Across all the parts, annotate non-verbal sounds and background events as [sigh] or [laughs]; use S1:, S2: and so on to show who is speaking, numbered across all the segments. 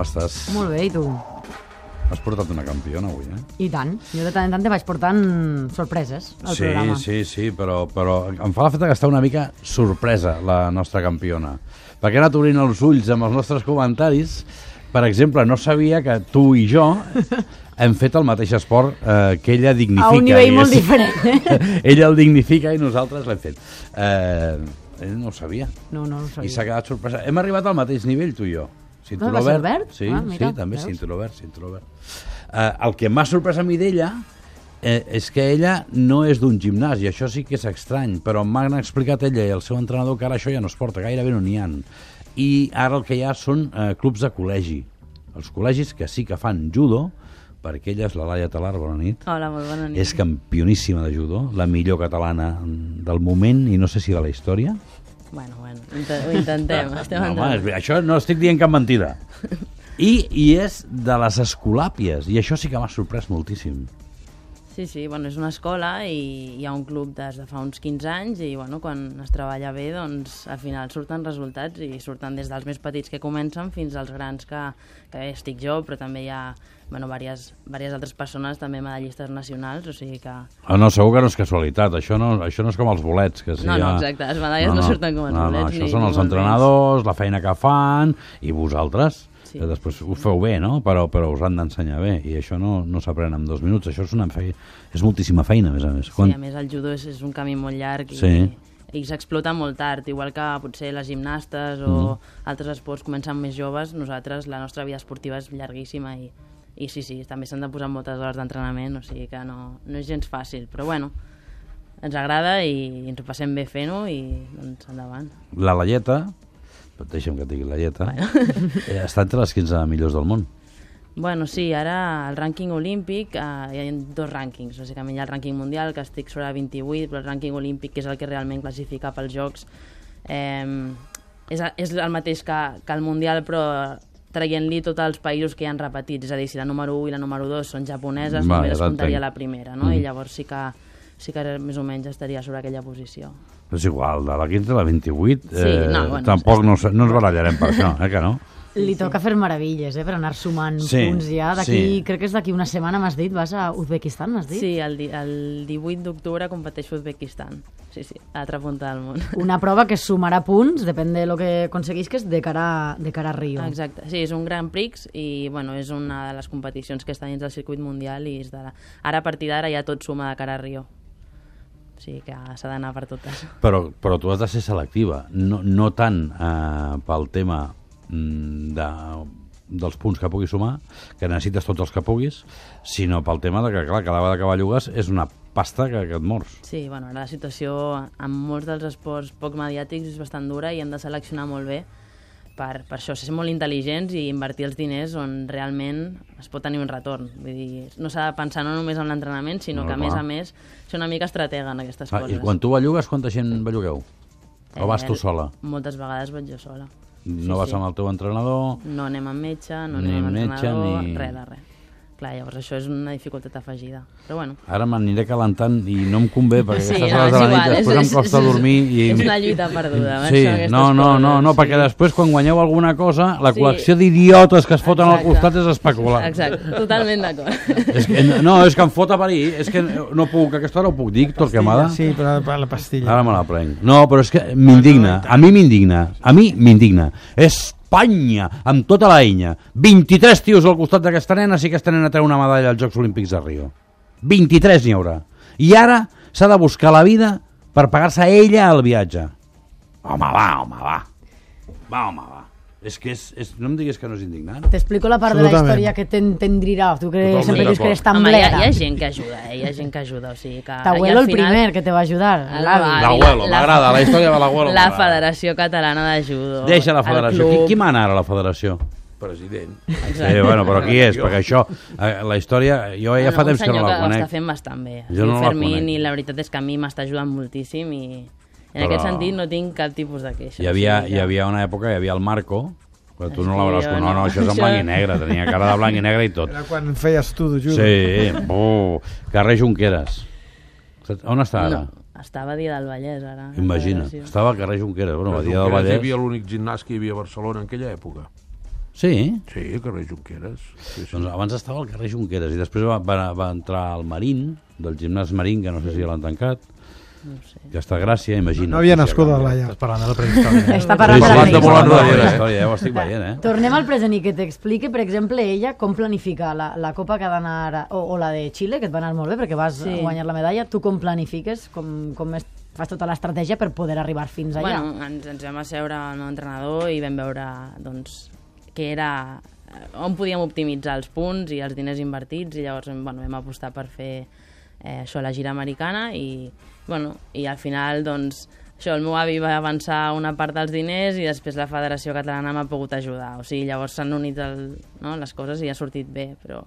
S1: estàs...
S2: Molt bé, i tu?
S1: Has portat una campiona avui, eh?
S2: I tant. Jo de tant en tant te vaig portant sorpreses al
S1: sí,
S2: programa.
S1: sí, sí, però, però em fa la feta que està una mica sorpresa la nostra campiona. Perquè ha anat obrint els ulls amb els nostres comentaris. Per exemple, no sabia que tu i
S2: [laughs]
S1: jo hem fet el mateix esport eh, que ella dignifica.
S2: A un nivell molt
S1: diguéssim.
S2: diferent. eh?
S1: [laughs] ella el dignifica i nosaltres l'hem fet. Eh, ell no ho sabia.
S2: No, no, no ho
S1: I s'ha
S2: sabia.
S1: quedat sorpresa. Hem arribat al mateix nivell, tu i jo.
S2: Ah, va ser obert?
S1: Sí,
S2: Ah,
S1: sí,
S2: mira,
S1: també
S2: veus?
S1: cinturó verd, cinturó verd. Eh, el que m'ha sorprès a mi d'ella eh, és que ella no és d'un gimnàs, i això sí que és estrany, però m'han explicat ella i el seu entrenador que ara això ja no es porta, gairebé no n'hi ha. I ara el que hi ha són eh, clubs de col·legi. Els col·legis que sí que fan judo, perquè ella és la Laia Talar, bona nit.
S3: Hola, molt bona nit.
S2: Mm.
S1: És campioníssima de judo, la millor catalana mm, del moment i no sé si de la història.
S3: Bueno, bueno, inte- ho intentem.
S1: [laughs]
S3: estem
S1: No, home,
S3: endavant.
S1: és bé, això no estic dient cap mentida. I, I és de les escolàpies, i això sí que m'ha sorprès moltíssim.
S3: Sí, sí, bueno, és una escola i hi ha un club des de fa uns 15 anys i bueno, quan es treballa bé doncs al final surten resultats i surten des dels més petits que comencen fins als grans que, que estic jo, però també hi ha bueno, diverses, diverses altres persones també medallistes nacionals, o sigui que...
S1: Ah, no, segur que no és casualitat, això no, això no és com els bolets. Que si
S3: No,
S1: hi ha...
S3: no, exacte, les medalles no surten com els
S1: no, No,
S3: bolets,
S1: això
S3: ni-
S1: són
S3: ni
S1: els
S3: molt
S1: entrenadors, la feina que fan, i vosaltres,
S3: Sí.
S1: que després ho feu bé, no? Però, però us han d'ensenyar bé, i això no, no s'aprèn en dos minuts, això és, una feina, és moltíssima feina, a més a més.
S3: Sí, a més el judo és, és un camí molt llarg i,
S1: Sí.
S3: i s'explota molt tard, igual que potser les gimnastes o altres esports comencen més joves, nosaltres la nostra vida esportiva és llarguíssima i, i sí, sí, també s'han de posar moltes hores d'entrenament, o sigui que no, no és gens fàcil, però bueno, ens agrada i ens ho passem bé fent-ho i doncs endavant.
S1: La Laieta, deixa'm que et digui eh, Laieta, bueno. està entre les 15 millors del món.
S3: Bueno, sí, ara el rànquing olímpic, eh, hi ha dos rànquings, bàsicament hi ha el rànquing mundial, que estic sobre 28, però el rànquing olímpic, que és el que realment classifica pels Jocs, eh, és, és el mateix que, que el mundial, però traient-li tots els països que hi han repetits, és a dir, si la número 1 i la número 2 són
S1: Vale,
S3: japoneses, Vale, només es
S1: ja
S3: comptaria
S1: t'entenc.
S3: la primera, no? Mm. I llavors sí que, sí que més o menys estaria sobre aquella posició.
S1: Però És igual, de la 15 a la 28,
S3: Sí,
S1: eh,
S3: no, bueno,
S1: tampoc no, us- no ens barallarem per això, eh, que no?
S2: Li toca fer meravilles, eh, per anar sumant
S1: Sí,
S2: punts ja. D'aquí,
S1: sí.
S2: crec que és d'aquí una setmana, m'has dit, vas a Uzbekistan, m'has dit?
S3: Sí, el, di- el 18 d'octubre competeix Uzbekistan. Sí, sí, a l'altra punta del món.
S2: Una prova que sumarà punts, depèn de lo que aconseguisques, de cara, de cara a Rio.
S3: Exacte, sí, és un Gran Prix i bueno, és una de les competicions que està dins del circuit mundial i és de la... ara a partir d'ara ja tot suma de cara a Rio. O sigui que s'ha d'anar per totes.
S1: Però, però tu has de ser selectiva, no, no tant eh, pel tema mm, de, dels punts que puguis sumar, que necessites tots els que puguis, sinó pel tema de que, clar, cada vegada que bellugues és una pasta que, que et mors.
S3: Sí, bueno, ara la situació en molts dels esports poc mediàtics és bastant dura i hem de seleccionar molt bé per, per això, ser molt intel·ligents i invertir els diners on realment es pot tenir un retorn. Vull dir, no s'ha de pensar no només en l'entrenament, sinó
S1: No,
S3: que a
S1: clar.
S3: més a més ser una mica estratega en aquestes
S1: Ah,
S3: coses.
S1: I quan tu bellugues, quanta gent bellugueu? O vas
S3: Eh,
S1: tu sola?
S3: Moltes vegades vaig jo sola.
S1: No vas amb el teu entrenador?
S3: No anem amb metge, no
S1: Ni
S3: anem amb
S1: metge,
S3: entrenador,
S1: ni-
S3: res de res. Clar, llavors això és una dificultat afegida. Però bueno,
S1: Ara m'aniré calentant i no em convé, perquè
S3: Sí,
S1: aquestes
S3: no,
S1: hores de
S3: és
S1: la nit
S3: igual, és-
S1: després em
S3: és-
S1: costa
S3: és-
S1: dormir i...
S3: és una lluita perduda. em
S1: Sí,
S3: sembla, aquestes
S1: no, no,
S3: coses,
S1: no, no,
S3: sí.
S1: perquè després quan guanyeu alguna cosa, la
S3: Sí.
S1: col·lecció d'idiotes que es foten
S3: Exacte.
S1: al costat és especular.
S3: Exacte, totalment d'acord.
S1: És que, no, és que em fot a parir, és que no puc, a aquesta hora ho puc dir, tot quemada.
S4: Sí, però per la pastilla.
S1: Ara me la prenc. No, però és que m'indigna, a mi m'indigna, a mi m'indigna. Espanya, amb tota la enya. 23 tios al costat d'aquesta nena, sí que aquesta nena treu una medalla als Jocs Olímpics de Rio. 23 n'hi haurà. I ara s'ha de buscar la vida per pagar-se ella el viatge. Home, va, home, va. Va, home, va. És que és, és... no em diguis que no és indignant.
S2: T'explico la part de la
S4: Absolutament.
S2: història que t'entendrirà. Tu que
S1: Totalment
S2: sempre dius que
S1: d'acord.
S2: eres
S3: Home, hi ha, hi
S2: tamblera.
S3: ha gent que ajuda, eh? hi ha gent que ajuda. O sigui que, i
S2: T'abuelo
S3: al
S2: el
S3: final-
S2: primer que te va ajudar.
S3: Ah,
S2: l'avi.
S3: va,
S1: L'abuelo,
S3: la-
S1: m'agrada, la història de l'abuelo
S3: La
S1: m'agrada.
S3: Federació Catalana de Judo.
S1: Deixa la
S3: el
S1: federació. Qui,
S3: club.
S1: qui mana ara la federació?
S5: President.
S1: Sí, bueno, però qui [laughs] és? Perquè això, eh, la història, jo ja
S3: Bueno,
S1: fa
S3: un
S1: temps que no
S3: senyor
S1: la
S3: ho
S1: conec.
S3: està fent bastant bé.
S1: Jo no la
S3: Fermín,
S1: conec.
S3: i la veritat és que a mi m'està ajudant moltíssim i en
S1: Però-
S3: aquest sentit no tinc cap tipus de queixa.
S1: Hi havia,
S3: O sigui
S1: hi
S3: que-
S1: havia una època, hi havia el Marco, però tu no
S3: Sí,
S1: l'hauràs
S3: jo
S1: conegut. No,
S3: no.
S1: no, això
S3: [laughs]
S1: és en
S3: Això-
S1: blanc i negre, tenia cara de blanc i negre i tot.
S4: Era quan feies tu de judo.
S1: Sí, buh, carrer Junqueras. Saps- On està ara?
S3: No, estava a dia del Vallès, ara. la
S1: Imagina,
S3: federació.
S1: estava al carrer Junqueras, bueno, a dia del
S5: Junqueras Hi
S1: Vallès.
S5: havia l'únic gimnàs que hi havia a Barcelona en aquella època.
S1: Sí,
S5: Sí, al carrer Junqueras. Sí, sí.
S1: doncs abans estava al carrer Junqueras i després va, va, va entrar al Marín, del gimnàs Marín, que no sé si ja l'han tancat,
S3: No ho sé.
S1: que està a Gràcia, imagina.
S4: No havia nascut a l'allà.
S6: Estàs parlant de la prehistòria.
S2: Està
S1: Sí,
S2: parlant
S1: sí,
S2: de la
S5: parlant
S1: sí,
S2: Reina.
S5: de volar
S1: sí,
S5: enrere,
S1: sí,
S5: eh?
S1: història, eh? Ho estic veient, eh?
S2: Tornem al present i que t'expliqui, per exemple, ella com planifica la, la copa que ha d'anar, ara- o, o la de Xile, que et va anar molt bé perquè vas sí.
S3: Sí.
S2: guanyar la medalla, tu com planifiques, com, com es, fas tota l'estratègia per poder arribar fins allà?
S3: Bueno, ens, ens vam asseure amb l'entrenador i vam veure doncs, que era eh, on podíem optimitzar els punts i els diners invertits i llavors bueno, vam apostar per fer eh, això a la gira americana i, bueno, i al final doncs, això, el meu avi va avançar una part dels diners i després la Federació Catalana m'ha pogut ajudar. O sigui, llavors s'han unit el, no, les coses i ha sortit bé, però,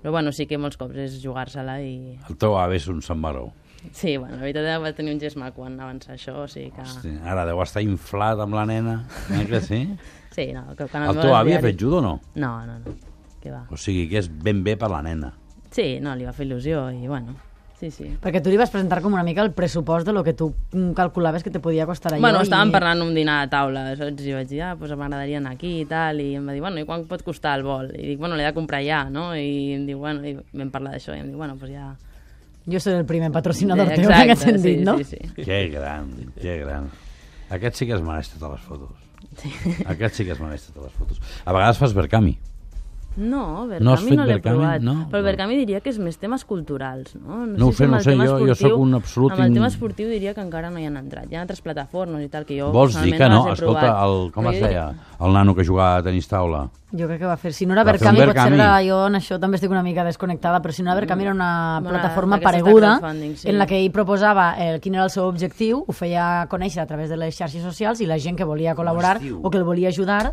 S3: però bueno, sí que molts cops és jugar-se-la i...
S1: El teu avi és un Sant Baró.
S3: Sí, bueno, la veritat és que va tenir un gest mal quan avançar això, o sigui que...
S1: Hosti, Ara deu estar inflat amb la nena. Eh que
S3: [laughs]
S1: sí?
S3: Sí, no, que quan
S1: El
S3: et
S1: teu
S3: vols
S1: avi ha
S3: liar-
S1: fet judo o no?
S3: No, no, no. Què va?
S1: O sigui que és ben bé per la nena.
S3: Sí, no, li va fer il·lusió i bueno, sí, sí.
S2: Perquè tu li vas presentar com una mica el pressupost de lo que tu mm, calculaves que te podia costar allò.
S3: Bueno,
S2: i-
S3: estàvem parlant un dinar a taula, saps? I vaig dir, ah, doncs m'agradaria anar aquí i tal, i em va dir, bueno, i quan pot costar el vol? I dic, bueno, l'he de comprar ja, no? I em diu, bueno, i vam parlar d'això, i em diu, bueno, doncs ja...
S2: Jo seré el primer patrocinador
S3: Eh,
S2: teu [laughs] en aquest
S3: exacte,
S2: sentit,
S3: sí,
S2: no?
S3: Sí, sí.
S1: Que gran, que gran. Aquest sí que es mereix totes les fotos. Aquest sí que es mereix totes les fotos. A vegades fas Berkami.
S3: No,
S1: No has
S3: Bergami
S1: fet
S3: no, l'he
S1: Bergami?
S3: provat.
S1: No?
S3: Però Bergami diria que és més temes culturals, no?
S1: No ho sé,
S3: amb
S1: no
S3: el
S1: sé,
S3: tema
S1: jo- jo sóc
S3: esportiu-
S1: un absolut
S3: Amb el
S1: in-
S3: tema esportiu diria que encara no hi han entrat. Hi ha altres plataformes i tal, que jo
S1: Vols dir
S3: personalment
S1: que no?
S3: no les he
S1: Escolta,
S3: provat.
S1: el, com
S3: Però
S1: es
S3: jo
S1: deia? El nano que jugava a tenis taula.
S2: Jo crec que va fer... Si no era
S1: Va fer un
S2: Berkami, potser
S1: Berkami.
S2: era jo en això també estic una mica desconnectada, però si no era Berkami era una
S3: Una
S2: plataforma
S3: d'aquestes de
S2: pareguda
S3: Mm. crowdfunding, sí.
S2: en la que ell proposava eh, quin era el seu objectiu, ho feia conèixer a través de les xarxes socials i la gent que volia col·laborar o que el volia ajudar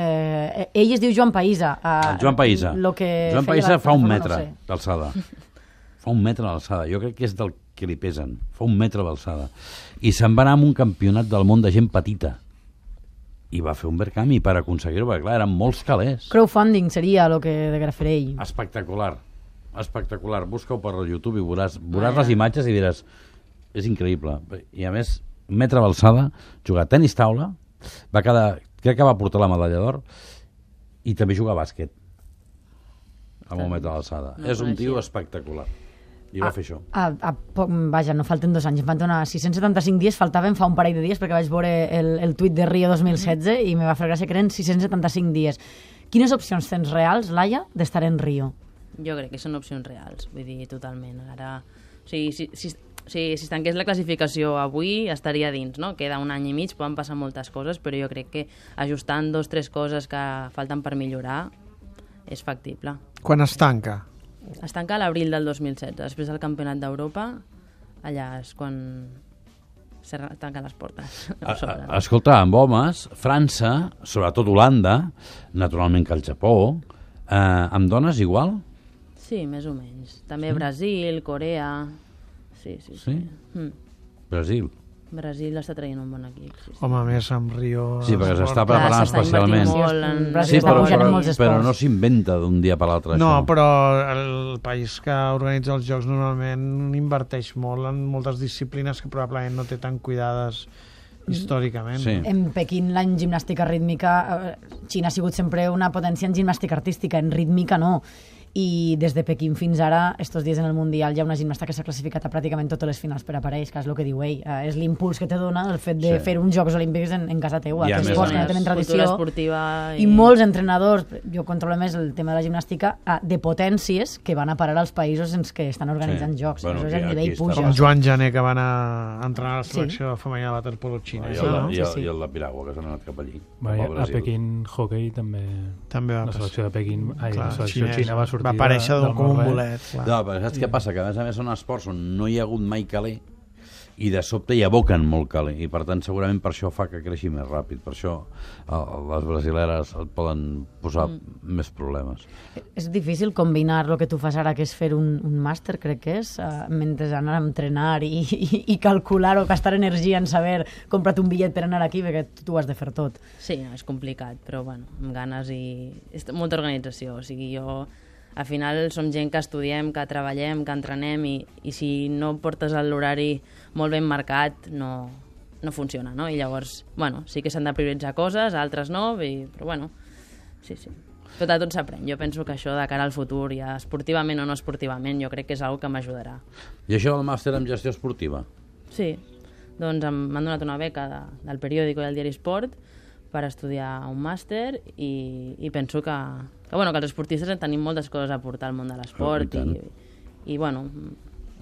S2: Eh, ell es diu Joan Païsa. Eh,
S1: El Joan Païsa.
S2: Lo que
S1: Joan
S2: feia
S1: Païsa
S2: la
S1: fa un
S2: plataforma,
S1: metre
S2: No ho sé.
S1: d'alçada. [laughs] Fa un metre d'alçada. Jo crec que és del que li pesen. Fa un metre d'alçada. I se'n va anar amb un campionat del món de gent petita. I va fer un Berkami per aconseguir-ho, perquè clar, eren molts calés.
S2: Crowdfunding seria el que de fer ell.
S1: Espectacular. Espectacular. Busca-ho per YouTube i
S3: Ah,
S1: veuràs, veuràs les imatges i diràs és increïble. I a més, metre d'alçada, jugar a tenis taula, va quedar, crec que va portar la medalla d'or i també juga a bàsquet amb un metre d'alçada.
S3: No
S1: és un
S3: coneixia. Ah,
S1: tio espectacular. I va fer això.
S2: A, a, poc- vaja, no falten dos anys, em van donar 675 dies, faltaven fa un parell de dies perquè vaig veure el, el tuit de Rio 2016 i me va fer gràcia que eren 675 dies. Quines opcions tens reals, Laia, d'estar en Rio?
S3: Jo crec que són opcions reals, vull dir, totalment. Ara, o sigui, si, si, o sigui, si es tanqués la classificació avui, estaria dins, no? Queda un any i mig, poden passar moltes coses, però jo crec que ajustant dos, tres coses que falten per millorar, és factible.
S4: Quan es tanca.
S3: Es tanca a l'abril del 2016, després del Campionat d'Europa, allà és quan se re- tanquen les portes. [laughs]
S1: A-
S3: No s'obren.
S1: a- Escolta, amb homes, França, sobretot Holanda, naturalment que el Japó, eh, amb dones igual?
S3: Sí, més o menys. També Brasil, Corea... Sí, sí, sí.
S1: Sí?
S3: Mm.
S1: Brasil.
S3: Brasil està traient un bon equip. Sí, sí.
S4: [laughs] Home, a més, amb Rio...
S1: Sí, perquè s'està
S4: Esport.
S1: preparant
S3: s'està invertint
S1: especialment.
S3: molt en-
S2: Brasil
S1: Sí,
S2: està
S1: però,
S2: pujant en
S1: però,
S2: molts esports.
S1: però no s'inventa d'un dia per l'altre.
S4: No,
S1: això.
S4: però el país que organitza els Jocs normalment inverteix molt en moltes disciplines que probablement no té tan cuidades històricament.
S1: Sí.
S2: En Pequín l'any gimnàstica rítmica, eh, Xina ha sigut sempre una potència en gimnàstica artística, en rítmica no. I des de Pequín fins ara, estos dies en el Mundial, hi ha una gimnasta que s'ha classificat a pràcticament totes les finals per apareix, que és el que diu ell. Eh, és l'impuls que te dona el fet de
S1: Sí.
S2: sí. fer uns Jocs Olímpics en, en casa teua,
S1: I a
S2: que
S1: més
S2: esports
S1: a
S2: que no
S1: més,
S2: tenen
S3: cultura
S2: tradició.
S3: esportiva
S2: I molts entrenadors, jo controlo més el tema de la gimnàstica, ah, de potències que van a parar als països en què estan organitzant
S1: Sí.
S2: jocs.
S1: Bueno,
S2: Bueno,
S1: aquí-
S2: Aleshores el
S1: aquí
S2: nivell
S1: està.
S2: puja.
S4: Com Joan Jané, que va anar a entrenar a la
S2: Sí.
S4: selecció femenina de waterpolo xinesa,
S1: I el,
S4: no?
S1: i, el,
S2: Sí, sí.
S1: I el de Piragua, que s'han anat cap allí.
S6: Va,
S1: cap
S6: i
S1: al
S6: a
S1: Brasil.
S6: Pequín Hockey també...
S4: També va
S6: La selecció de Pequín,
S4: Ah,
S6: ai,
S4: pues Clar,
S6: la selecció
S4: xinesa.
S6: xina va sortir...
S4: Va aparèixer
S6: de-
S4: d'un-
S6: del
S4: com un
S6: Marroc.
S4: bolet. clar.
S1: No, però saps què passa? Que a més a més són esports on no hi ha hagut mai caler i de sobte hi aboquen molt caler i per tant segurament per això fa que creixi més ràpid per això eh, les brasileres et poden posar
S2: Mm.
S1: més problemes
S2: És difícil combinar el que tu fas ara, que és fer un, un màster, crec que és, eh, mentre anar a entrenar i, i, i calcular o gastar energia en saber compra't un bitllet per anar aquí, perquè tu, tu ho has de fer tot.
S3: Sí, no, és complicat, però bueno, amb ganes i... És molta organització, o sigui, jo... Al final som gent que estudiem, que treballem, que entrenem i, i si no portes l'horari molt ben marcat no, no funciona, no? I llavors, bueno, sí que s'han de prioritzar coses, altres no, i, però bueno, Sí, sí. Tot a tot s'aprèn. Jo penso que això de cara al futur, ja esportivament o no esportivament, jo crec que és una que m'ajudarà.
S1: I això del màster en gestió esportiva.
S3: Sí, doncs em- m'han donat una beca de, del periòdico i del diari Esport per estudiar un màster i, i penso que, que, bueno, que els esportistes en tenim moltes coses a aportar al món de l'esport
S1: Oh, i
S3: i, i, bueno,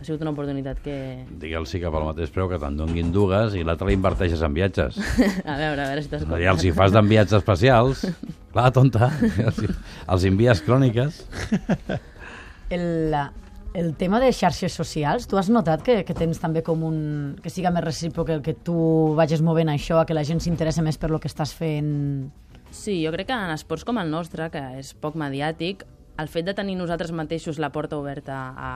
S3: ha sigut una oportunitat que... [laughs]
S1: Digue'ls sí que pel mateix preu que te'n donguin dues i l'altra l'inverteixes en viatges.
S3: A veure, a veure si t'escoltes.
S1: Ja els hi fas d'enviats especials. Clar, tonta. Els, hi- els envies cròniques.
S2: El, el tema de xarxes socials, tu has notat que, que tens també com un... que siga més recíproc el que tu vagis movent això, a que la gent s'interessa més per lo que estàs fent...
S3: [laughs] Sí, jo crec que en esports com el nostre, que és poc mediàtic, el fet de tenir nosaltres mateixos la porta oberta a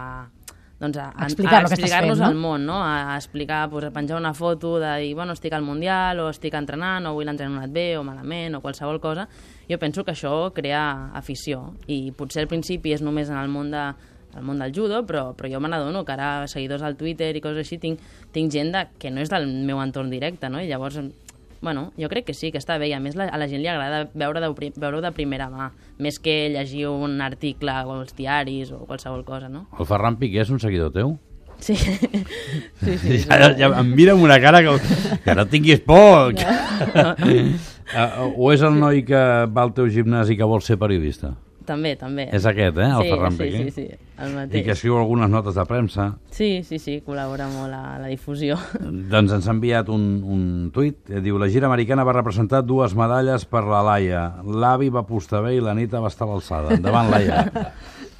S3: doncs a, a,
S2: Explicar
S3: a
S2: lo que estàs
S3: explicar-nos
S2: fent, no?
S3: al món, no? A, a explicar, pues, a penjar una foto de dir, bueno, estic al Mundial, o estic entrenant, o avui l'entrenament et bé, o malament, o qualsevol cosa. Jo penso que això crea afició, i potser al principi és només en el món de al món del judo, però, però jo me n'adono que ara seguidors al Twitter i coses així tinc, tinc gent de, que no és del meu entorn directe, no? I llavors Bueno, jo crec que sí, que està bé, i a més la, a la gent li agrada veure de, pri- veure de primera mà, més que llegir un article o els diaris o qualsevol cosa, no?
S1: El Ferran Piqué és un seguidor teu?
S3: Sí, sí, sí.
S1: Ja, [laughs] ja, ja, em mira amb una cara que, que no tinguis por. Que... [laughs] Eh, o és el noi que va al teu gimnàs i que vol ser periodista?
S3: [laughs] També, també.
S1: És aquest, eh, el
S3: sí,
S1: Ferran
S3: sí,
S1: Piqué?
S3: Sí, sí, el
S1: I que
S3: mateix.
S1: escriu algunes notes de premsa.
S3: Sí, sí, sí, col·labora molt a la difusió. [laughs]
S1: Doncs ens ha enviat un, un tuit. eh, Diu, la gira americana va representar dues medalles per la Laia. L'avi va apostar bé i la nita va estar a l'alçada. Endavant,
S3: [laughs]
S1: Laia.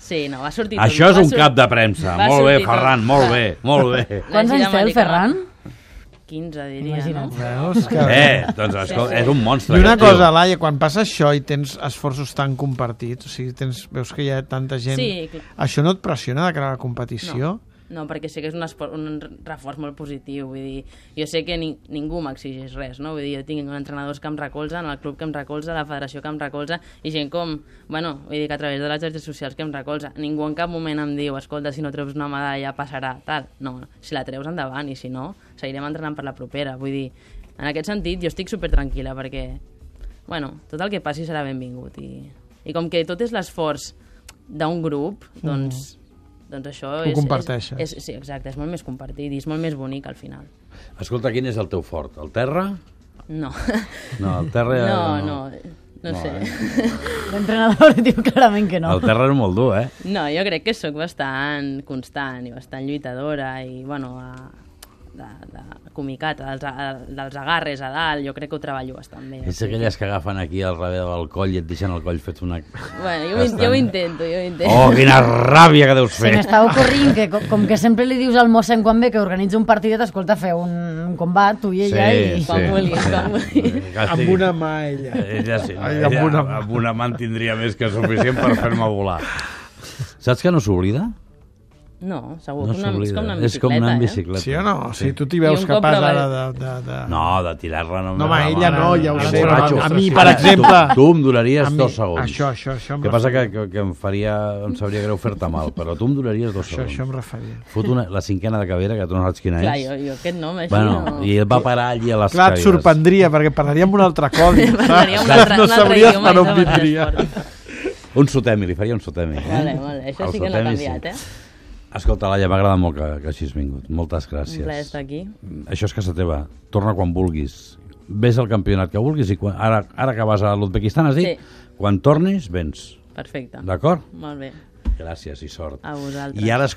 S3: Sí, no, va sortir
S1: Això
S3: tot.
S1: és
S3: doncs va
S1: un
S3: sor-
S1: cap de premsa.
S3: va
S1: Molt bé,
S3: sortir tot.
S1: Ferran, molt
S3: [laughs]
S1: bé, molt bé.
S3: La
S2: Quants anys
S3: gira
S2: té el
S3: americana.
S2: Ferran?
S3: 15, diria,
S2: Imagina't.
S3: no?
S4: Veus que...
S1: Eh, doncs escolta, és un monstre.
S4: I una
S1: aquest tio.
S4: cosa, Laia, quan passa això i tens esforços tan compartits, o sigui, tens, veus que hi ha tanta gent...
S3: Sí, clar.
S4: Això no et pressiona de cara a la competició?
S3: No, perquè sé que és un, esport, un reforç molt positiu, vull dir, jo sé que ni, ningú m'exigeix res, no? Vull dir, jo tinc entrenadors que em recolzen, el club que em recolza, la federació que em recolza, i gent com, bueno, vull dir que a través de les xarxes socials que em recolza, ningú en cap moment em diu, escolta, si no treus una medalla passarà, tal. No, no. si la treus endavant, i si no, seguirem entrenant per la propera, vull dir, en aquest sentit jo estic super tranquil·la perquè, bueno, tot el que passi serà benvingut, i, i com que tot és l'esforç d'un grup, doncs... Doncs això
S4: Mm. Ho
S3: és,
S4: comparteixes.
S3: és, és, sí, exacte, és molt més compartit i és molt més bonic al final.
S1: Escolta, quin és el teu fort? El terra?
S4: [laughs]
S3: No,
S1: No, el terra...
S3: no, no, no, sé.
S1: eh?
S2: L'entrenador [laughs] diu clarament que no.
S1: El terra és molt dur, eh?
S3: [laughs] No, jo crec que sóc bastant constant i bastant lluitadora i, bueno, a, de, de comicata, dels, a, dels agarres a dalt, jo crec que ho treballo bastant bé.
S1: És aquelles que agafen aquí al darrere del coll i et deixen el coll fet una...
S3: Bueno, jo, ho in- jo ho intento, jo ho intento.
S1: Oh, quina ràbia que deus
S2: Se
S1: fer!
S2: m'està ocorrint que, com, com que sempre li dius al mossèn quan ve que organitza un partidet, escolta, feu un, un combat, tu i ella, i...
S3: quan vulguis, quan vulguis.
S4: Amb una mà, ella.
S1: Ella sí,
S4: Ai,
S1: ella,
S4: amb
S1: amb,
S4: una
S1: una...
S4: mà.
S1: amb una mà en tindria més que suficient per fer-me volar. Saps que no s'oblida?
S3: No, segur,
S1: No
S3: com una, és
S1: s'oblida.
S3: com una
S1: És com anar en
S3: bicicleta, eh?
S1: bicicleta.
S4: Sí o no? Sí.
S1: Sí.
S4: Si tu t'hi
S3: I
S4: veus
S3: un cop
S4: capaç
S3: la ve-
S4: ara de... de, de...
S1: No, de tirar-la no.
S4: No, home, ella no, ja ho
S6: sé, però
S1: borratxo.
S6: a mi,
S4: per exemple-
S1: Tu, tu em donaries
S4: A mi-
S1: dos segons.
S4: Això, això, això em
S1: que passa que,
S4: referia.
S1: que, que em faria... Em sabria greu fer-te mal, però tu em donaries dos
S4: Això,
S1: segons.
S4: això em referia.
S1: Fot una, la cinquena de cabera, que tu no saps quina
S3: Clar,
S1: és.
S3: jo, jo aquest nom, així
S1: Bueno,
S3: no... [laughs]
S1: i va parar allí a les
S4: Clar, et
S1: cadires.
S4: sorprendria, perquè parlaríem un altre
S3: [laughs]
S4: codi. saps?
S3: Parlaria un altre,
S4: Ah,
S3: un
S4: no
S3: altre
S4: sabries
S3: idioma.
S4: per
S3: i
S4: on
S3: no
S4: vindria.
S3: m'agrada
S1: Un sotemi, li faria un sotemi. Eh?
S3: Vale, vale, això
S1: El
S3: sí que no ha
S1: sotemi
S3: canviat, eh?
S1: Escolta, Laia, m'ha agradat molt que, que hagis vingut. Moltes
S3: Un plaer
S1: gràcies.
S3: estar aquí.
S1: Això és casa teva. Torna quan vulguis. Ves al campionat que vulguis i quan, ara, ara que vas a l'Uzbekistan, has dit,
S3: Sí. Ah.
S1: quan tornis, vens.
S3: Perfecte.
S1: D'acord?
S3: Molt bé.
S1: Gràcies i sort.
S3: A vosaltres.
S1: I ara escolta,